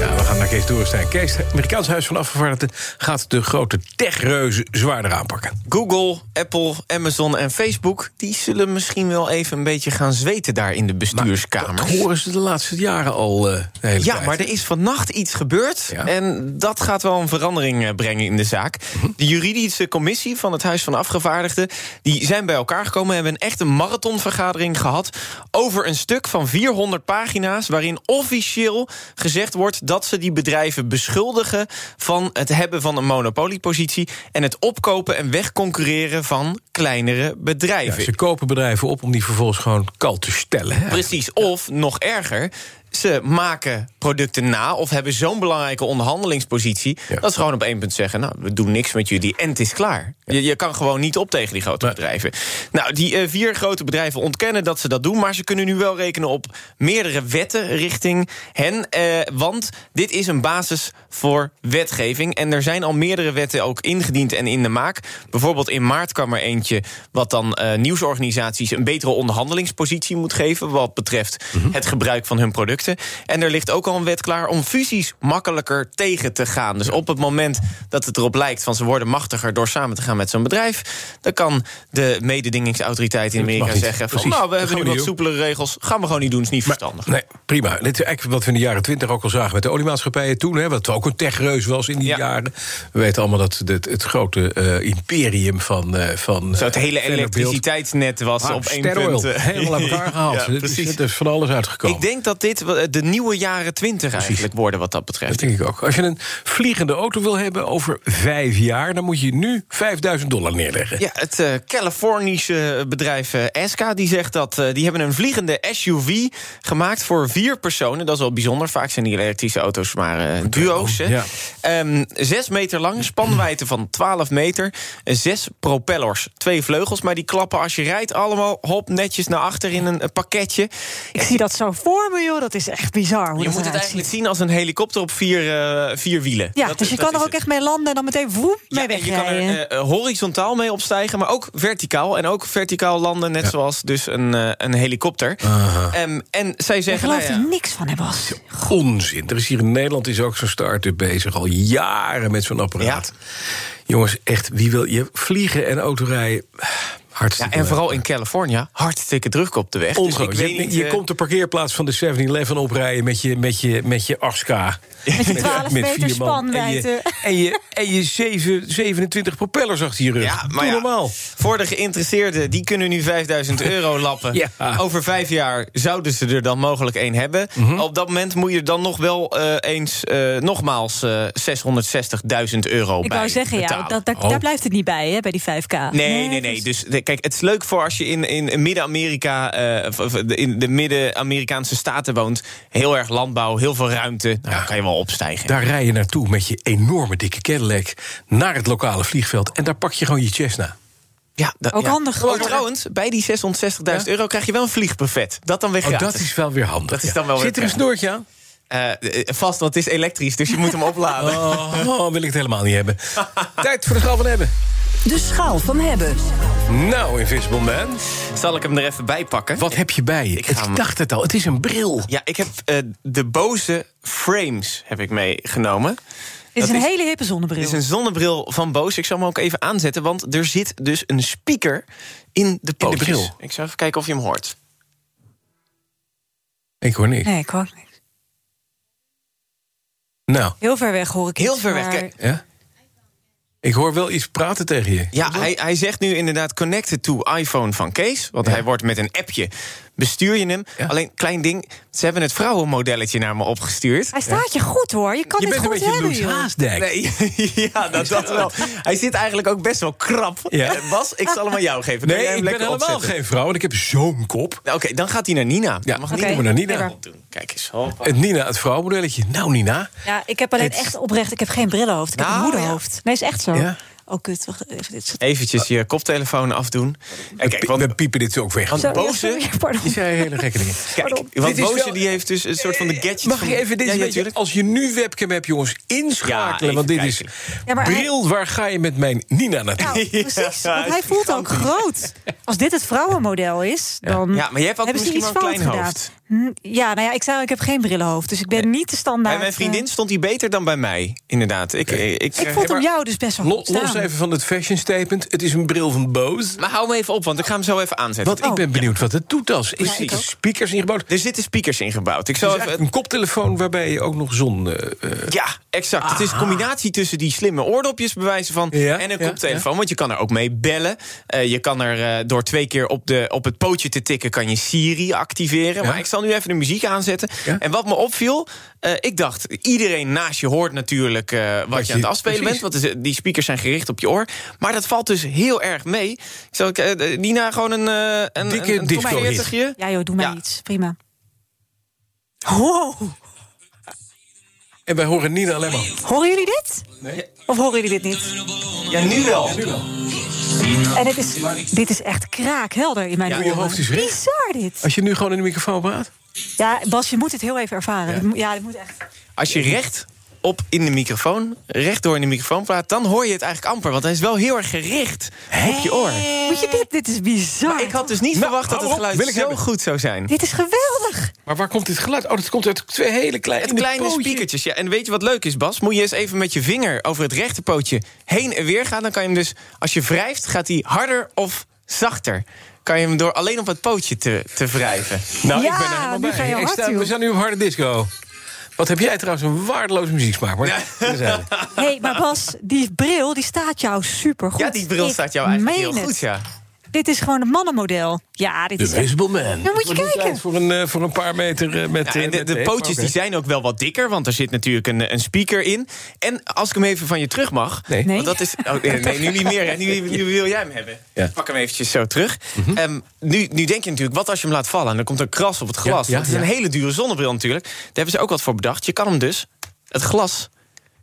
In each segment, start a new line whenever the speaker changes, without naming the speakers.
Ja, we gaan naar Kees Dorenstein. Kees, het Amerikaans Huis van Afgevaardigden gaat de grote techreuzen zwaarder aanpakken.
Google, Apple, Amazon en Facebook... die zullen misschien wel even een beetje gaan zweten daar in de
Dat
bestuurskamers.
horen ze de laatste jaren al eh de hele
ja,
tijd.
maar er is vannacht iets gebeurd.
Ja.
En dat gaat wel een verandering eh, brengen in de zaak.
Mhm.
De juridische commissie van het Huis van Afgevaardigden... die zijn bij elkaar gekomen en hebben echt een marathonvergadering gehad... over een stuk van 400 pagina's... waarin officieel gezegd wordt dat ze die bedrijven beschuldigen... van het hebben van een monopoliepositie... en het opkopen en wegconcurreren van kleinere
Ja,
bedrijven.
ze kopen bedrijven op om die vervolgens gewoon kal te stellen. Hè?
Precies, of nog erger. Ze maken producten na of hebben zo'n belangrijke onderhandelingspositie...
Ja.
dat ze gewoon op één punt zeggen... nou, we doen niks met jullie en het is klaar. Je, je kan gewoon niet op tegen die grote
Nee.
bedrijven. Nou, die eh, vier grote bedrijven ontkennen dat ze dat doen... maar ze kunnen nu wel rekenen op meerdere wetten richting hen. eh, want dit is een basis voor wetgeving. En er zijn al meerdere wetten ook ingediend en in de maak. Bijvoorbeeld in maart kwam er eentje... wat dan eh, nieuwsorganisaties een betere onderhandelingspositie moet geven... wat betreft
Mhm.
het gebruik van hun producten. En er ligt ook al een wet klaar om fusies makkelijker tegen te gaan. Dus op het moment dat het erop lijkt van ze worden machtiger... door samen te gaan met zo'n bedrijf... dan kan de mededingingsautoriteit in
Dat mag
Amerika
niet.
zeggen... van,
Precies.
nou, we
Dat
hebben
gaan
nu wat
we niet doen.
soepelere regels, gaan we gewoon niet doen, is niet verstandig.
Nee, prima. Dit is eigenlijk wat we in de jaren twintig ook al zagen met de oliemaatschappijen toen. Hè, wat ook een techreus was in die
Ja.
jaren. We weten allemaal dat het, het grote eh, imperium van... eh van
Zo het
eh,
hele
Vanderbilt-
elektriciteitsnet was
Ah,
op één
steroil.
punt... eh,
Helemaal aan elkaar gehaald.
Ja,
Dus het is-
precies.
het is van alles uitgekomen.
Ik denk dat dit wel, eh, de nieuwe jaren twintig eigenlijk worden wat dat betreft.
Dat denk ik ook. Als je een vliegende auto wil hebben over vijf jaar... dan moet je nu 5000 dollar neerleggen.
Ja, het eh, Californische bedrijf eh, Esca die zegt dat eh, die hebben een vliegende SUV gemaakt voor vier personen. Dat is wel bijzonder. Vaak zijn die elektrische auto's maar eh, duo's. hè.
Oh, ja.
Ehm, zes meter lang, spanwijdte van 12 meter, eh, zes propellers, twee vleugels, maar die klappen als je rijdt allemaal hop netjes naar achter in een eh, pakketje.
Ik zie dat zo voor me, joh. Dat is echt bizar. Hoe
Je
dat
moet het
eruit
eigenlijk
ziet.
zien als een helikopter op vier, eh, vier wielen.
Ja,
Dat-
dus je
dat
kan er
is
ook
het.
echt mee landen en dan meteen woep mee
en je kan er
wegrijden.
eh, horizontaal mee opstijgen, maar ook verticaal. En ook verticaal landen, net zoals dus een, eh, een helikopter. Ehm, en zij
Ik
zeggen...
geloof
nou ja,
er niks van, hè, Bas.
Onzin. Er is hier in Nederland is ook zo'n start-up bezig. Al jaren met zo'n apparaat. Jongens, echt, wie wil je vliegen en autorijden?
ja,
Hartstikke
en
leuk.
vooral in Californië, hartstikke druk op de weg. Dus
Ongelooflijk.
ik weet
je
niet,
je
eh,
komt de parkeerplaats van de 7-Eleven oprijden met je, met je, met je Aska.
Met je 12 meter
vier man.
spanwijdte.
En je, en je, en je zeven- 27 propellers achter je rug.
Ja, maar
Doe
ja,
normaal.
voor de geïnteresseerden, die kunnen nu 5000 euro lappen.
Ja.
Over vijf jaar zouden ze er dan mogelijk één hebben.
Mhm.
Op dat moment moet je er dan nog wel eh, eens eh, nogmaals eh, 660.000 euro
Ik
bij
wou zeggen, ja,
betalen.
dat, daar,
Oh.
daar blijft het niet bij, hè, bij die 5K.
Nee, nee, nee. Dus de- kijk, het is leuk voor als je in, in Midden-Amerika, eh, of- of de- in de Midden-Amerikaanse staten woont. Heel erg landbouw, heel veel ruimte. Nou, dan kan je wel opstijgen.
Daar rij je naartoe met je enorme dikke Cadillac naar het lokale vliegveld. En daar pak je gewoon je Cessna.
ja, dat-
Ook
ja.
handig.
Oh,
Ook
trouwens, bij die 660.000 euro krijg je wel een vliegbuffet. Dat dan weer
Oh,
gratis.
dat is wel weer handig.
Dat is
ja.
dan wel weer
Zit er een
prettig.
snoertje aan?
Eh, eh, vast, want het is elektrisch, dus je moet hem opladen.
Oh, oh, wil ik het helemaal niet hebben. Tijd voor de schaal van hebben.
De schaal van hebben.
Nou, Invisible Man.
Zal ik hem er even bij pakken?
Wat heb je bij je?
Ik ga
Ik
hem-
dacht het al, het is een bril.
Ja, ik heb eh, de Bose Frames heb ik meegenomen.
Dit is
dat
een
is-
hele hippe zonnebril.
Dit is een zonnebril van Bose. Ik zal hem ook even aanzetten, want er zit dus een speaker in de pootjes.
bril.
Ik zal even kijken of je hem hoort.
Ik hoor niks.
Nee, ik hoor niks.
Nou,
Heel ver weg hoor ik
Heel
iets,
ver weg,
maar-
kijk.
ja? Ik hoor wel iets praten tegen je.
Ja, hij, hij zegt nu inderdaad connected to iPhone van Kees. Want hij wordt met een appje. Bestuur je hem.
Ja.
Alleen, klein ding, ze hebben het vrouwenmodelletje naar me opgestuurd.
Hij staat je goed, hoor. Je kan
Je
dit
bent een
goed
beetje
hebben,
Loes
joh.
Haasdijk.
Nee, ja, dat, dat wel. Hij zit eigenlijk ook best wel krap.
Ja.
Eh, Bas, ik zal hem aan jou geven. Kun
Nee,
jij hem
ik ben
lekker
helemaal
opzetten?
geen vrouw en ik heb zo'n kop.
Nou, Oké, dan gaat hij naar Nina.
Ja,
Mag
kom
Nina
maar naar Nina.
Lekker.
dat doen? Kijk eens. Hoppa.
Het Nina, het vrouwenmodelletje. Nou, Nina.
Ja, ik heb alleen echt oprecht, ik heb geen brillenhoofd. Ik heb
Nou,
een moederhoofd. Nee, is echt zo.
Ja.
Oh kut, wacht even. Dit is-
Eventjes je koptelefoon afdoen. En kijk, want,
we piepen dit ook weg.
want
Sorry,
Boze...
sorry, pardon.
Die zei hele gekke dingen.
Kijk, want
Dit is
Boze
wel- Eh,
die heeft dus een soort van de gadget...
Mag
van-
ik even
Ja,
dit is
ja,
een beetje-
tuurlijk.
Als je nu webcam hebt, jongens,
Ja,
inschakelen.
even
want dit
kijken.
is...
Ja, maar hij-
Bril, waar ga je met mijn Nina naartoe?
Nou, precies.
Ja,
Want hij
is
voelt ook
gigantisch.
groot. Als dit het vrouwenmodel is, dan.
Ja, maar jij hebt altijd
hebben ze
misschien
iets
wel een klein
fout gedaan.
hoofd.
Hm, Ja, nou ja, ik zei, ik heb geen brillenhoofd. Dus ik ben niet de standaard.
Bij mijn vriendin
eh,
stond hij beter dan bij mij, inderdaad. Ik, ik, eh, ik,
ik vond
maar-
hem jou dus best wel
Lo-
goed staan.
Los even van het fashion statement. Het is een bril van Bose.
Maar hou me even op, want ik ga hem zo even aanzetten.
Want ik ben benieuwd wat Oh. het doet als. Is
Oh, ik
er
ook.
speakers ingebouwd? Het
Er zitten speakers ingebouwd. Ik
is
zal
eigenlijk
even...
een koptelefoon waarbij je ook nog zon... eh, eh,
Ja, exact. Het is een combinatie tussen die slimme oordopjes, bij wijze van,
Ah. Ja,
en een
ja,
koptelefoon. Want je kan er ook mee bellen. Eh, je kan er eh, door twee keer op, de, op het pootje te tikken, kan je Siri activeren.
Ja.
Maar ik zal nu even de muziek aanzetten.
Ja.
En wat me opviel, eh, ik dacht, iedereen naast je hoort natuurlijk eh, wat, je
je-
aan het afspelen
precies.
bent. Want het is- die speakers zijn gericht op je oor. Maar dat valt dus heel erg mee. Ik zal ik, eh, Nina gewoon een, eh, een,
Dikke
een, een top
disco-hit.
40-je?
Ja, joh, doe mij
Ja.
iets. Prima. Wow.
En wij horen Nina alleen maar.
Horen jullie dit? Of horen jullie dit niet?
Ja, nu wel.
En het is, dit is echt kraakhelder in mijn
Ja,
oren.
je hoofd is recht.
Bizar dit.
Als je nu gewoon in de microfoon praat.
Ja, Bas, je moet het heel even ervaren. Ja, ja dit moet echt...
Als je recht op in de microfoon, rechtdoor in de microfoon praat, dan hoor je het eigenlijk amper. Want hij is wel heel erg gericht op je oor.
Moet je dit? Dit is bizar.
Eh. Maar ik had dus niet verwacht dat
Nou, hou
het geluid
op, wil ik
zo
hebben.
goed zou zijn.
Dit is geweldig.
Maar waar komt dit geluid? Oh, dat komt uit twee hele kleine,
Het
in
kleine
pootje.
spiekertjes. Ja, en weet je wat leuk is, Bas? Moet je eens even met je vinger over het rechterpootje heen en weer gaan. Dan kan je hem dus, als je wrijft, gaat hij harder of zachter. Kan je hem door alleen op het pootje te, te wrijven.
Nou,
Ja,
ik ben er helemaal
nu
bij.
ga je
Ik
hard,
sta-
joh.
we staan nu op harde disco. Wat heb jij trouwens een waardeloze muzieksmaak. Maar dat is eigenlijk-
Hé, hey, maar Bas, die bril die staat jou super goed.
Ja, die bril staat jou eigenlijk heel goed, ja.
Dit is gewoon een mannenmodel. Ja, dit
De
is echt-
Visible Man.
Dan moet je
Wordt niet
kijken.
tijd Voor een, eh, voor een paar meter eh, met...
Ja,
eh,
en de,
met
de
tape,
pootjes
oké.
die zijn ook wel wat dikker, want er zit natuurlijk een, een speaker in. En als ik hem even van je terug mag,
Nee.
want dat is... Oh, nee, nee, nu niet meer, hè. Nu, nu wil jij hem hebben.
Ja. Mhm.
Ik pak hem eventjes zo terug. Ehm, nu, nu denk je natuurlijk, wat als je hem laat vallen? En dan komt er kras op het glas.
Ja, ja,
Want het is
ja.
een hele dure zonnebril natuurlijk. Daar hebben ze ook wat voor bedacht. Je kan hem dus, het glas,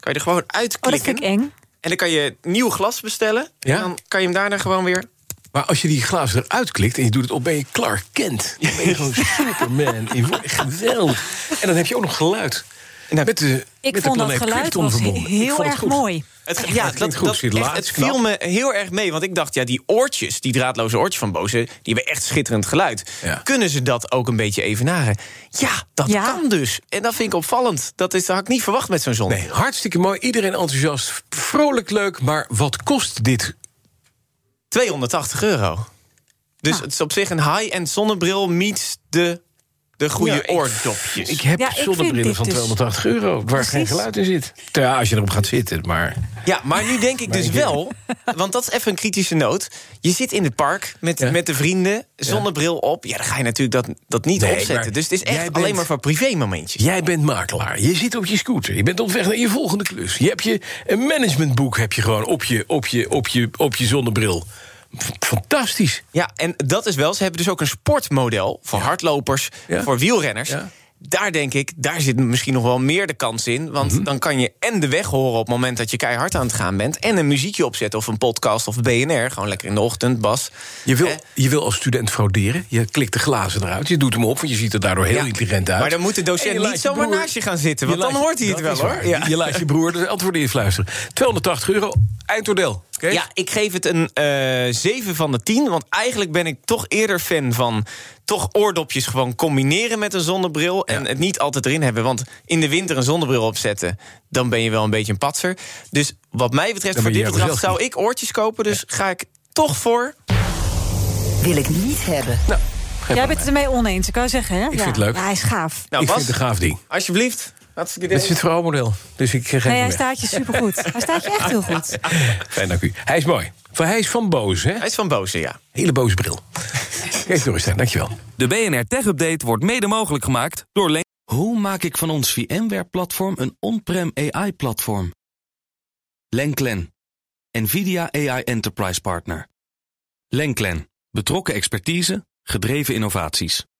kan je er gewoon
Oh, dat
uitklikken.
vind ik eng.
En dan kan je nieuw glas bestellen.
Ja.
En dan kan je hem daarna gewoon weer...
Maar als je die glazen eruit klikt en je doet het op, ben je Clark Kent. Dan ben je gewoon Superman. Je wordt geweldig. En dan heb je ook nog geluid.
Nou,
met de,
Ik
met de
vond dat
planeet
geluid
Krypton
was
verbonden. Ik vond
heel
het
erg
goed.
mooi.
Het, ja,
het
dat,
klinkt goed,
dat-
zie je,
echt,
laat,
het
knap.
viel me heel erg mee. Want ik dacht, ja, die oortjes, die draadloze oortjes van Boze... die hebben echt schitterend geluid.
Ja.
Kunnen ze dat ook een beetje evenaren? Ja, dat
Ja.
kan dus. En dat vind ik opvallend. Dat, is, dat had ik niet verwacht met zo'n zon.
Nee, hartstikke mooi. Iedereen enthousiast. Vrolijk leuk. Maar wat kost dit?
280 euro. Dus het is op zich een high-end zonnebril... meets de, de goede
Ja, ik-
oordopjes.
Ik heb
Ja, ik vind
zonnebrillen
dit
van
dus-
280 euro waar geen geluid in zit. Ja, als je erop gaat zitten, maar...
Ja, maar nu denk ik dus wel, want dat is even een kritische noot. Je zit in het park met,
Ja.
met de vrienden, zonnebril op. Ja, dan ga je natuurlijk dat, dat niet
Nee, maar
opzetten. Dus het is echt
jij
alleen
bent-
maar voor privémomentjes.
Jij bent makelaar. Je zit op je scooter. Je bent op weg naar je volgende klus. Je hebt je een managementboek heb je gewoon op je, op je, op je, op je zonnebril. F- Fantastisch.
Ja, en dat is wel. Ze hebben dus ook een sportmodel voor hardlopers,
Ja.
voor wielrenners.
Ja.
Daar denk ik, daar zit misschien nog wel meer de kans in. Want
Mhm.
dan kan je en de weg horen op het moment dat je keihard aan het gaan bent. En een muziekje opzetten of een podcast of BNR. Gewoon lekker in de ochtend, Bas.
Je wil,
Eh,
je wil als student frauderen. Je klikt de glazen eruit. Je doet hem op, want je ziet er daardoor heel
Ja.
intelligent uit.
Maar dan moet de docent
En je laat
niet
je
zomaar
broer-
naast je gaan zitten, want
je
dan
laat je-
hoort hij het
dat
wel,
is
hoor.
waar.
Ja.
Je, je laat je broer de antwoorden influisteren. 280 euro, eindoordeel. Kees?
Ja, ik geef het een eh 7 van de 10. Want eigenlijk ben ik toch eerder fan van toch oordopjes gewoon combineren met een zonnebril. En het niet altijd erin hebben. Want in de winter een zonnebril opzetten, dan ben je wel een beetje een patser. Dus wat mij betreft,
Dan
voor
ben je
dit bedrag
jezelf
zou ik oortjes kopen. Dus ga ik toch voor.
Wil ik niet hebben.
Jij bent het ermee oneens, ik kan zeggen, hè? Ik
vind het leuk.
Ja, hij is gaaf.
Nou,
ik
Bas,
vind het een gaaf ding.
alsjeblieft. Hartstikke
Dit is
idee.
het vrouwenmodel. Dus ik geef
Nee, Nou hij
hem weg.
staat je supergoed. Hij staat je echt heel goed.
Fijn, dank u. Hij is mooi. Van, hij is van boos, hè?
Hij is van Boze, ja.
Hele boze bril. Kees Dorrestein, dankjewel.
De BNR Tech Update wordt mede mogelijk gemaakt door Leen. Hoe maak ik van ons VMware-platform een on-prem AI-platform? Lenklen, NVIDIA AI Enterprise Partner. Lenklen, betrokken expertise, gedreven innovaties.